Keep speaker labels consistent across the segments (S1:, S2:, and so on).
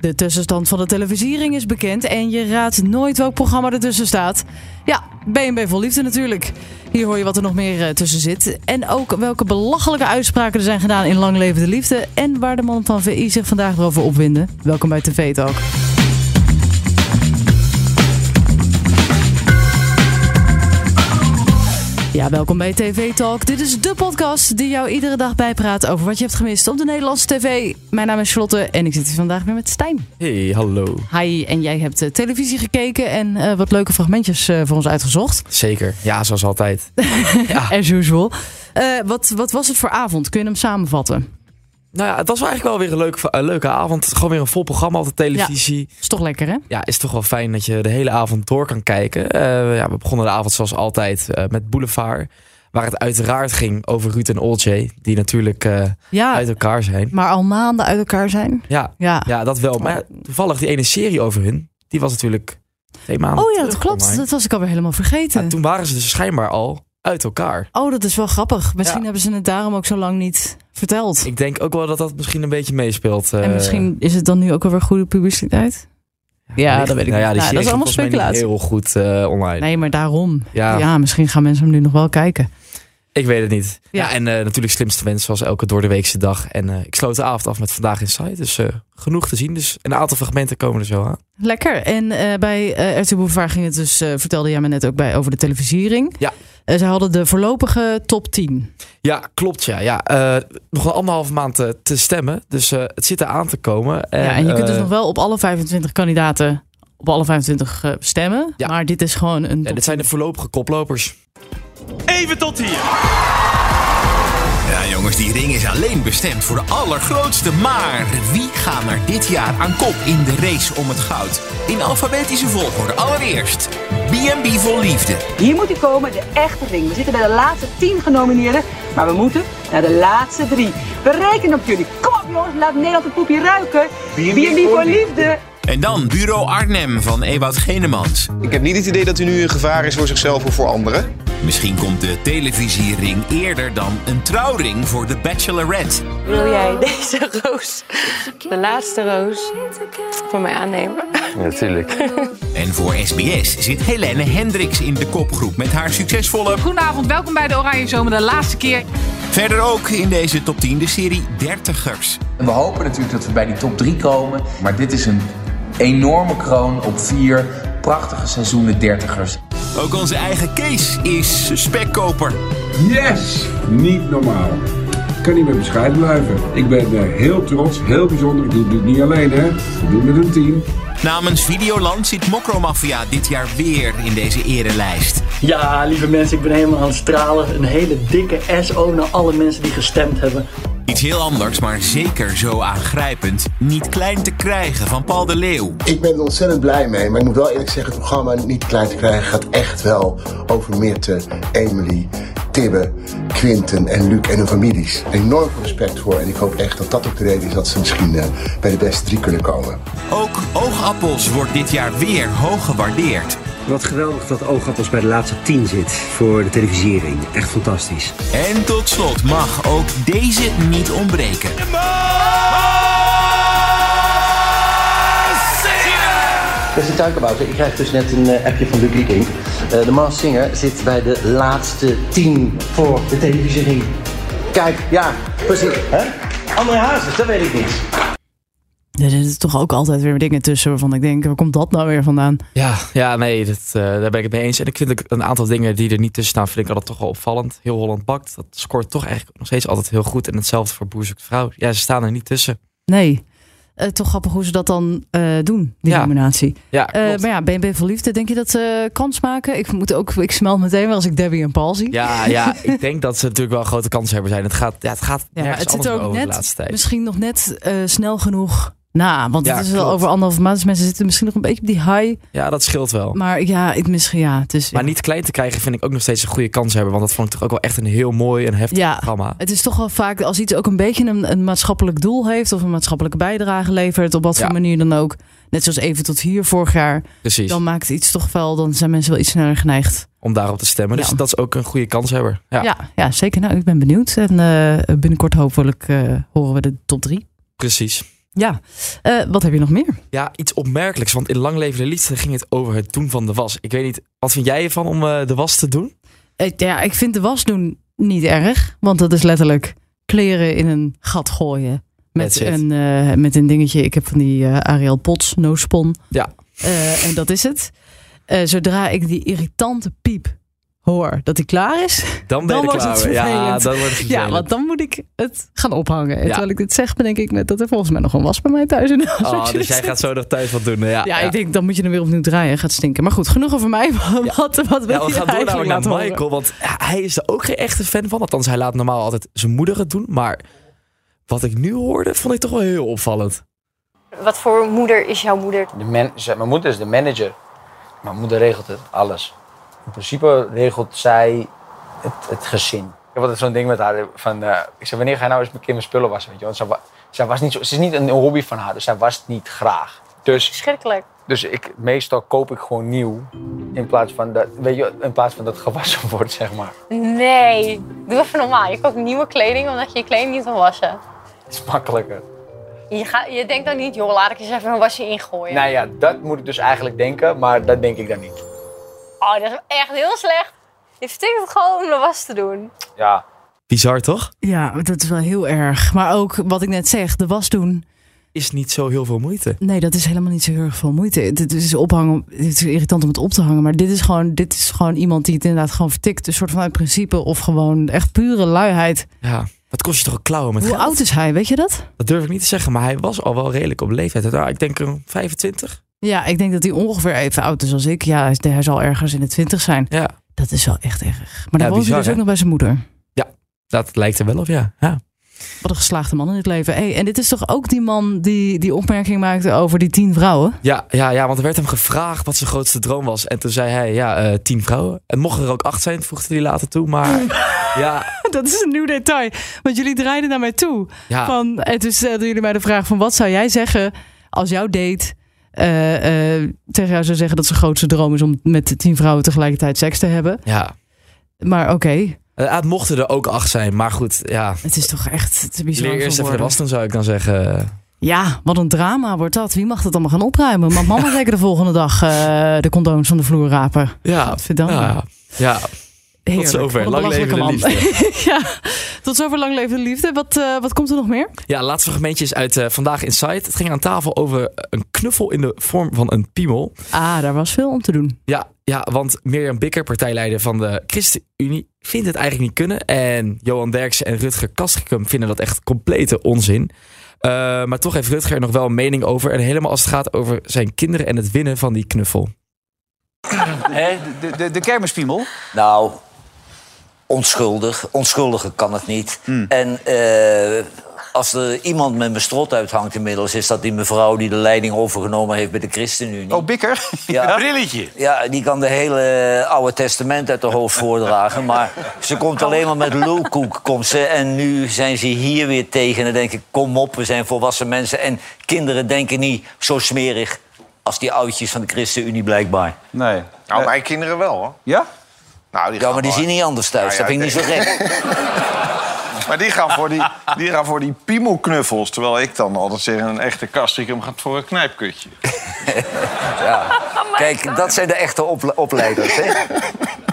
S1: De tussenstand van de televisiering is bekend en je raadt nooit welk programma ertussen staat. Ja, BNB Vol Liefde natuurlijk. Hier hoor je wat er nog meer eh, tussen zit. En ook welke belachelijke uitspraken er zijn gedaan in Lang Levende Liefde. En waar de man van VI zich vandaag weer over opwinden. Welkom bij TV Talk. Ja, welkom bij TV Talk. Dit is de podcast die jou iedere dag bijpraat over wat je hebt gemist op de Nederlandse tv. Mijn naam is Charlotte en ik zit hier vandaag weer met Stijn.
S2: Hey, hallo.
S1: Hi, en jij hebt eh, televisie gekeken en eh, wat leuke fragmentjes eh, voor ons uitgezocht.
S2: Zeker. Ja, zoals altijd. Ja.
S1: As usual. Eh, wat, wat was het voor avond? Kun je hem samenvatten?
S2: Nou ja, het was wel eigenlijk wel weer een leuke, een leuke avond. Gewoon weer een vol programma op de televisie. Ja.
S1: Is toch lekker, hè?
S2: is toch wel fijn dat je de hele avond door kan kijken. Eh, ja, we begonnen de avond zoals altijd eh, met Boulevard. Waar het uiteraard ging over Ruud en Olcay. Die natuurlijk eh,
S1: Ja,
S2: uit elkaar zijn.
S1: maar al maanden uit elkaar zijn.
S2: Ja,
S1: Ja.
S2: ja, dat wel. Maar ja, toevallig die ene serie over hun. Die was natuurlijk twee maanden
S1: Oh ja, dat
S2: terug
S1: klopt.
S2: online.
S1: Dat was ik alweer helemaal
S2: Ja,
S1: vergeten.
S2: toen waren ze dus schijnbaar al uit elkaar.
S1: Oh, dat is wel grappig. Misschien
S2: Ja.
S1: hebben ze het daarom ook zo lang niet verteld.
S2: Ik denk ook wel dat dat misschien een beetje meespeelt. eh,
S1: En misschien is het dan nu ook wel weer goede publiciteit. Ja,
S2: Wellicht.
S1: dat weet ik
S2: Nou ja,
S1: niet.
S2: die
S1: Nou, dat is
S2: serie
S1: allemaal
S2: komt volgens mij niet
S1: speculatie.
S2: Heel goed eh, online.
S1: Nee, maar daarom.
S2: ja,
S1: Ja. misschien gaan mensen hem nu nog wel kijken.
S2: ik weet het niet.
S1: Ja.
S2: Ja, en eh, natuurlijk slimste wens zoals elke door de weekse dag. En eh, ik sloot de avond af met vandaag Inside. Dus eh, genoeg te zien. Dus een aantal fragmenten komen er zo aan.
S1: Lekker. En eh, bij eh RTL Boulevard ging het dus, eh, vertelde jij me net ook bij, over de televisiering.
S2: Ja.
S1: Eh, ze hadden de voorlopige top 10.
S2: Ja, klopt ja. ja eh, nog een anderhalve maand eh, te stemmen. Dus eh, het zit er aan te komen. En,
S1: ja, en je kunt dus
S2: eh,
S1: nog wel op alle 25 kandidaten, op alle 25 eh, stemmen.
S2: Ja.
S1: Maar dit is gewoon een
S2: ja,
S1: top
S2: dit zijn de voorlopige koplopers.
S3: Even tot hier.
S4: Ja, jongens, die ring is alleen bestemd voor de allergrootste. Maar wie gaan er dit jaar aan kop in de race om het goud? In alfabetische volgorde. Allereerst BB Vol Liefde.
S5: Hier moet hij komen, de echte ring. We zitten bij de laatste tien genomineerden, maar we moeten naar de laatste drie. We rekenen op jullie. Kom op jongens, laat Nederland het poepje ruiken. B&B voor liefde.
S4: En dan Bureau Arnhem van Ewout Genemans.
S6: Ik heb niet het idee dat hij nu een gevaar is voor zichzelf of voor anderen.
S4: Misschien komt de televisiering eerder dan een trouwring voor de Bachelorette.
S7: Wil jij deze roos, de laatste roos, voor mij aannemen?
S4: En voor SBS zit Helene Hendricks in de kopgroep met haar succesvolle...
S8: Goedenavond, welkom bij de Oranje Zomer, de laatste keer.
S4: Verder ook in deze top 10 de serie Dertigers.
S9: En we hopen natuurlijk dat we bij die top 3 komen. Maar dit is een enorme kroon op vier prachtige seizoenen dertigers.
S4: Ook onze eigen Kees is spekkoper.
S10: Yes! Niet normaal. Ik kan niet meer bescheiden blijven. Ik ben eh, heel trots, heel bijzonder. Ik doe het niet alleen, hè. We doen het met een team.
S4: Namens Videoland zit Mokromafia dit jaar weer in deze erenlijst.
S3: Ja, lieve mensen, ik ben helemaal aan het stralen. Een hele dikke SO naar alle mensen die gestemd hebben.
S4: Iets heel anders, maar zeker zo aangrijpend. Niet klein te krijgen van Paul de Leeuw.
S9: Ik ben er ontzettend blij mee. Maar ik moet wel eerlijk zeggen, het programma Niet Klein te Krijgen gaat echt wel over Mirte, Emily, Tibbe, Quinten en Luc en hun families. Enorm veel respect voor. En ik hoop echt dat dat ook de reden is dat ze misschien eh, bij de beste drie kunnen komen.
S4: Ook Oogappels wordt dit jaar weer hoog gewaardeerd.
S3: Wat geweldig dat Oogappels bij de laatste tien zit voor de televisiering. Echt fantastisch.
S4: En tot slot mag ook deze niet ontbreken.
S3: Dat is een tuikenbouter. Ik krijg dus net een eh, appje van Luc Liking. Eh, de Mars Singer zit bij de laatste tien voor de televisiering. Kijk, ja, precies. Hè? André Hazes, dat weet ik niet.
S1: Er zitten toch ook altijd weer dingen tussen waarvan ik denk, waar komt dat nou weer vandaan?
S2: Ja, ja nee, dat, eh, daar ben ik het mee eens. En ik vind ook een aantal dingen die er niet tussen staan, vind ik altijd toch wel opvallend. Heel Holland bakt, dat scoort toch eigenlijk nog steeds altijd heel goed. En hetzelfde voor Boer zoekt vrouw. Ja, ze staan er niet tussen.
S1: Nee. Eh, toch grappig hoe ze dat dan eh, doen, die
S2: Ja.
S1: nominatie.
S2: Ja,
S1: Eh,
S2: klopt.
S1: maar ja, BNB voor Liefde, denk je dat ze eh, kans maken? Ik, moet ook, ik smelt meteen wel als ik Debbie en Paul zie.
S2: Ja, ja, ik denk dat ze natuurlijk wel een grote kanshebber zijn. Het gaat, ja, het gaat
S1: Ja, maar
S2: nergens
S1: het zit
S2: anders
S1: er ook
S2: meer over de
S1: net,
S2: laatste tijd.
S1: misschien nog net eh, snel genoeg na. Want
S2: Ja,
S1: het is wel
S2: klopt.
S1: over anderhalf maand. Dus mensen zitten misschien nog een beetje op die high.
S2: Ja, dat scheelt wel.
S1: Maar ja, ik, misschien ja. Het is,
S2: Maar niet klein te krijgen vind ik ook nog steeds een goede kans hebben. Want dat vond ik toch ook wel echt een heel mooi en heftig
S1: Ja.
S2: programma.
S1: het is toch wel vaak als iets ook een beetje een, een maatschappelijk doel heeft. Of een maatschappelijke bijdrage levert. Op wat voor
S2: Ja.
S1: manier dan ook. Net zoals even tot hier vorig jaar.
S2: Precies.
S1: Dan maakt iets toch wel, dan zijn mensen wel iets sneller geneigd.
S2: Om daarop te stemmen. Dus
S1: Ja.
S2: dat is ook een goede kanshebber. Ja,
S1: Ja, ja, zeker. Nou, ik ben benieuwd. En eh, binnenkort hopelijk eh, horen we de top drie.
S2: precies.
S1: Ja, Eh, wat heb je nog meer?
S2: Ja, iets opmerkelijks. Want in Lang Levende Liefde ging het over het doen van de was. Ik weet niet, wat vind jij ervan om eh, de was te doen?
S1: Ik- ja, ik vind de was doen niet erg. Want dat is letterlijk kleren in een gat gooien. Met,
S2: That's it.
S1: een, eh, met een dingetje. Ik heb van die eh, Ariel Pots, no spon.
S2: Ja.
S1: Eh, en dat is het. Eh, zodra ik die irritante piep hoor dat hij klaar is.
S2: Dan ben
S1: Dan
S2: je er
S1: wordt
S2: klaar
S1: het
S2: mee. Ja,
S1: vervelend.
S2: dan wordt het
S1: Ja,
S2: vervelend.
S1: want dan moet ik het gaan ophangen. En
S2: Ja.
S1: terwijl ik dit zeg, bedenk ik me dat er volgens mij nog een was bij mij thuis. In de
S2: Oh,
S1: wasmachine
S2: dus jij
S1: zit.
S2: gaat zo nog thuis wat doen. eh, Ja,
S1: Ja, ik denk, dan moet je hem weer opnieuw draaien. Gaat stinken. Maar goed, genoeg over mij. Wat, wat wil
S2: Ja, we
S1: je
S2: gaan door
S1: eigenlijk
S2: namelijk naar
S1: laten horen?
S2: Michael, want hij is er ook geen echte fan van. Althans, hij laat normaal altijd zijn moeder het doen. Maar wat ik nu hoorde, vond ik toch wel heel opvallend.
S11: Wat voor moeder is jouw moeder?
S12: De man, ze- mijn moeder is de manager. Mijn moeder regelt het, alles. In principe regelt zij het, het gezin. Ik heb altijd zo'n ding met haar. Van, eh, ik zei, wanneer ga je nou eens een keer mijn spullen wassen? Weet je? Want zij, wa- zij was niet zo, het is niet een hobby van haar, dus zij wast niet graag. Dus,
S11: Schrikkelijk.
S12: dus ik, meestal koop ik gewoon nieuw. In plaats, van dat, weet je, in plaats van dat het gewassen wordt, zeg maar.
S11: Nee, doe even normaal. Je koopt nieuwe kleding omdat je je kleding niet wil wassen.
S12: Het is makkelijker.
S11: Je, gaat, je denkt dan niet, joh, laat ik eens even een wasje ingooien.
S12: Nou ja, dat moet ik dus eigenlijk denken, maar dat denk ik dan niet.
S11: Oh, dat is echt heel slecht. Je vertikt het gewoon om de was te doen.
S12: Ja.
S2: Bizar toch?
S1: Ja, maar dat is wel heel erg. Maar ook wat ik net zeg, de was doen.
S2: Is niet zo heel veel moeite.
S1: Nee, dat is helemaal niet zo heel erg veel moeite. Dit is ophangen. Het is irritant om het op te hangen. Maar dit is gewoon, dit is gewoon iemand die het inderdaad gewoon vertikt. Een soort van uit principe of gewoon echt pure luiheid.
S2: Ja, wat kost je toch een klauwen met
S1: Hoe
S2: geld?
S1: oud is hij, weet je dat?
S2: Dat durf ik niet te zeggen, maar hij was al wel redelijk op leeftijd. Nou, ik denk een 25.
S1: Ja, ik denk dat hij ongeveer even oud is als ik. Ja, hij, is- hij zal ergens in de twintig zijn.
S2: Ja.
S1: Dat is wel echt erg. Maar dan
S2: Ja,
S1: woont hij
S2: bizar,
S1: dus ook
S2: hè?
S1: nog bij zijn moeder.
S2: Ja, dat lijkt er wel op, ja. ja.
S1: Wat een geslaagde man in het leven. Hey, en dit is toch ook die man die die opmerking maakte over die tien vrouwen?
S2: Ja, ja, ja, want er werd hem gevraagd wat zijn grootste droom was. En toen zei hij, ja, eh, tien vrouwen. En mochten er ook acht zijn, voegde hij later toe. Maar ja,
S1: Dat is een nieuw detail. Want jullie draaiden naar mij toe.
S2: Ja.
S1: Van, en toen stelden jullie mij de vraag van wat zou jij zeggen als jouw date eh, eh, tegen jou zou zeggen dat zijn grootste droom is om met tien vrouwen tegelijkertijd seks te hebben.
S2: ja.
S1: Maar oké,
S2: Eh, Het mochten er ook acht zijn, maar goed, ja.
S1: het is toch echt te bizar
S2: Leer eerst
S1: voor
S2: even
S1: woorden.
S2: was, dan zou ik dan zeggen.
S1: Ja, wat een drama wordt dat. Wie mag dat allemaal gaan opruimen? Maar mama zeker de volgende dag eh, de condooms van de vloer rapen.
S2: Ja,
S1: Godverdamme.
S2: ja, ja.
S1: Heerlijk.
S2: Tot zover.
S1: Wat een
S2: Lang leven de
S1: belachelijke
S2: liefde.
S1: man. ja, tot zover lang leven de liefde. Wat, eh, wat komt er nog meer?
S2: Ja, laatste fragmentje is uit eh, Vandaag Inside. Het ging aan tafel over een knuffel in de vorm van een piemel.
S1: Ah, daar was veel om te doen.
S2: Ja, ja, want Mirjam Bikker, partijleider van de ChristenUnie, vindt het eigenlijk niet kunnen. En Johan Derksen en Rutger Kastrikum vinden dat echt complete onzin. Eh, maar toch heeft Rutger er nog wel een mening over. En helemaal als het gaat over zijn kinderen en het winnen van die knuffel.
S13: De, de, de kermispiemel?
S14: Nou, onschuldig. Onschuldigen kan het niet.
S13: Mm.
S14: En eh, als er iemand met mijn strot uithangt inmiddels... is dat die mevrouw die de leiding overgenomen heeft bij de ChristenUnie. Oh,
S13: Bikker?
S14: Ja.
S13: Brilletje.
S14: Ja, die kan de hele Oude Testament uit de hoofd voordragen. Maar ze komt alleen maar met lulkoek. Komt ze, en nu zijn ze hier weer tegen. En dan denk ik, kom op, we zijn volwassen mensen. En kinderen denken niet zo smerig als die oudjes van de ChristenUnie blijkbaar.
S13: Nee.
S6: Nou, mijn kinderen wel, hoor.
S13: Ja?
S6: Nou, die
S14: Ja, maar die zien niet anders thuis. dat vind ik niet zo gek.
S6: maar die gaan, voor die, die gaan voor die piemelknuffels. Terwijl ik dan altijd zeg, een echte kastrikum gaat voor een knijpkutje.
S14: Ja. Kijk, dat zijn de echte ople- opleiders, hè?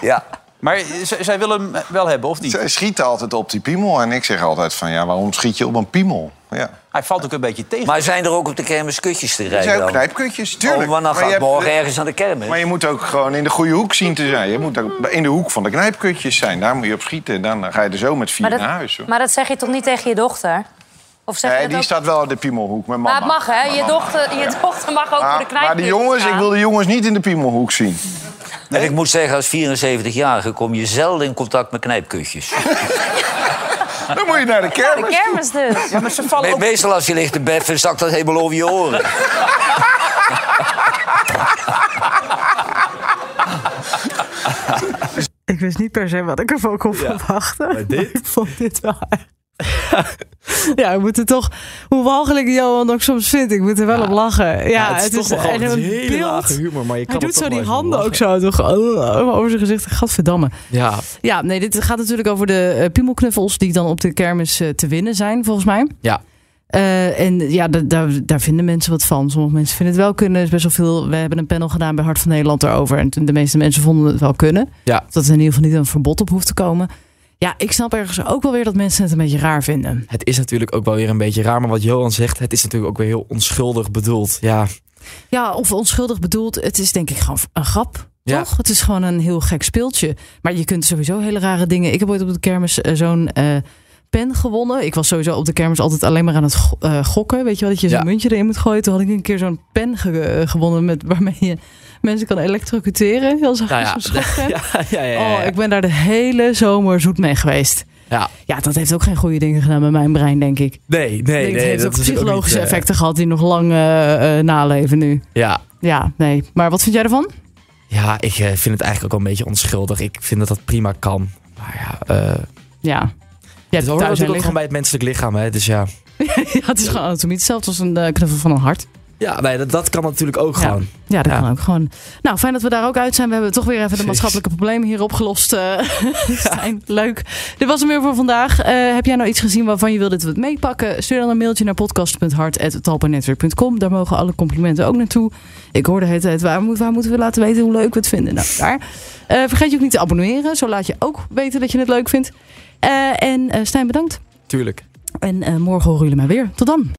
S14: Ja.
S13: Maar z- zij willen hem wel hebben, of niet?
S6: Zij schieten altijd op die piemel. En ik zeg altijd van, ja, waarom schiet je op een piemel? Ja.
S13: Hij valt ook een beetje tegen.
S14: Maar zijn er ook op de kermis kutjes te
S6: Er
S14: rijden
S6: zijn ook
S14: dan?
S6: knijpkutjes, tuurlijk.
S14: Oh, maar dan
S6: je
S14: gaat
S6: hebt-
S14: morgen ergens aan de kermis.
S6: Maar je moet ook gewoon in de goede hoek zien te zijn. Je moet ook in de hoek van de knijpkutjes zijn. Daar moet je op schieten. Dan ga je er zo met vier
S15: Maar dat,
S6: naar huis. Hoor.
S15: maar dat zeg je toch niet tegen je dochter? Of zeg
S6: Nee,
S15: je dat
S6: die
S15: ook?
S6: staat wel op de piemelhoek met mama.
S15: Maar het mag, hè?
S6: Met
S15: Je
S6: mama.
S15: dochter, je dochter mag ook voor de
S6: Ah, Maar, maar
S15: knijpkutjes
S6: de jongens, ik
S15: gaan.
S6: wil de jongens niet in de piemelhoek zien.
S14: En ik moet zeggen, als 74-jarige kom je zelden in contact met knijpkutjes.
S6: Dan moet je naar de
S15: Ja, de kermis dus.
S13: Ja, maar ze vallen
S14: Me- Meestal als je ligt te beffen, zakt dat helemaal over je oren.
S1: Ik wist niet per se wat ik ervan kon verwachten. Maar ik vond dit wel erg. ja, we moeten toch... Hoe walgelijk Johan ook soms vindt, ik moet er wel op lachen. Ja,
S2: het is toch wel gewoon
S1: en
S2: het
S1: een
S2: hele
S1: beeld.
S2: lage humor, maar
S1: Hij
S2: je kan
S1: doet
S2: er
S1: zo
S2: toch
S1: die
S2: wel even om
S1: handen ook zo toch, oh, over zijn gezicht. Gadverdamme.
S2: Ja,
S1: Ja, nee, dit gaat natuurlijk over de eh, piemelknuffels die dan op de kermis eh, te winnen zijn, volgens mij.
S2: ja.
S1: Eh, Eh, en ja, da- daar, daar vinden mensen wat van. Sommige mensen vinden het wel kunnen. Er is best wel veel. We hebben een panel gedaan bij Hart van Nederland daarover. En toen de meeste mensen vonden het wel kunnen. Dus
S2: Ja.
S1: Dat er in ieder geval niet een verbod op hoeft te komen. Ja, ik snap ergens ook wel weer dat mensen het een beetje raar vinden.
S2: Het is natuurlijk ook wel weer een beetje raar, maar wat Johan zegt, het is natuurlijk ook weer heel onschuldig bedoeld. Ja,
S1: Ja, of onschuldig bedoeld. Het is denk ik gewoon een grap.
S2: Ja.
S1: Toch? Het is gewoon een heel gek speeltje. Maar je kunt sowieso hele rare dingen. Ik heb ooit op de kermis eh, zo'n eh, pen gewonnen. Ik was sowieso op de kermis altijd alleen maar aan het go- eh, gokken. Weet je wel, dat je zo'n
S2: Ja.
S1: muntje erin moet gooien. Toen had ik een keer zo'n pen ge- eh, gewonnen met, waarmee je mensen kan elektrocuteren. Heel zo'n
S2: Nou ja,
S1: zo'n schokgek.
S2: ja, ja, ja, ja.
S1: Oh, ik ben daar de hele zomer zoet mee geweest.
S2: Ja.
S1: ja, dat heeft ook geen goede dingen gedaan met mijn brein, denk ik.
S2: Nee, nee,
S1: Ik denk,
S2: nee.
S1: het heeft
S2: dat
S1: ook
S2: is niet,
S1: psychologische
S2: eh,
S1: effecten gehad die nog lang eh, eh, naleven nu.
S2: Ja,
S1: Ja, nee. Maar wat vind jij ervan?
S2: ja, ik eh, vind het eigenlijk ook wel een beetje onschuldig. Ik vind dat dat prima kan. Maar ja, eh
S1: Ja. Ja,
S2: het hoort natuurlijk ook gewoon bij het menselijk lichaam, hè? Dus ja.
S1: ja, het is gewoon anatomie. Hetzelfde als een eh, knuffel van een hart.
S2: Ja, nee, dat, dat kan natuurlijk ook gewoon.
S1: Ja, dat kan ook gewoon. Nou, fijn dat we daar ook uit zijn. We hebben toch weer even de
S2: Precies.
S1: maatschappelijke problemen hier opgelost. eh, Stijn, leuk. Dit was hem weer voor vandaag. Eh, heb jij nou iets gezien waarvan je wilde dat we het meepakken? Stuur dan een mailtje naar podcast.hart.talpanetwerk.com. Daar mogen alle complimenten ook naartoe. Ik hoorde het, het waar, moet, waar moeten we laten weten hoe leuk we het vinden? Nou, daar. Eh, vergeet je ook niet te abonneren. Zo laat je ook weten dat je het leuk vindt. Eh, en eh, Stijn, bedankt.
S2: Tuurlijk.
S1: En eh, morgen horen jullie mij weer. Tot dan.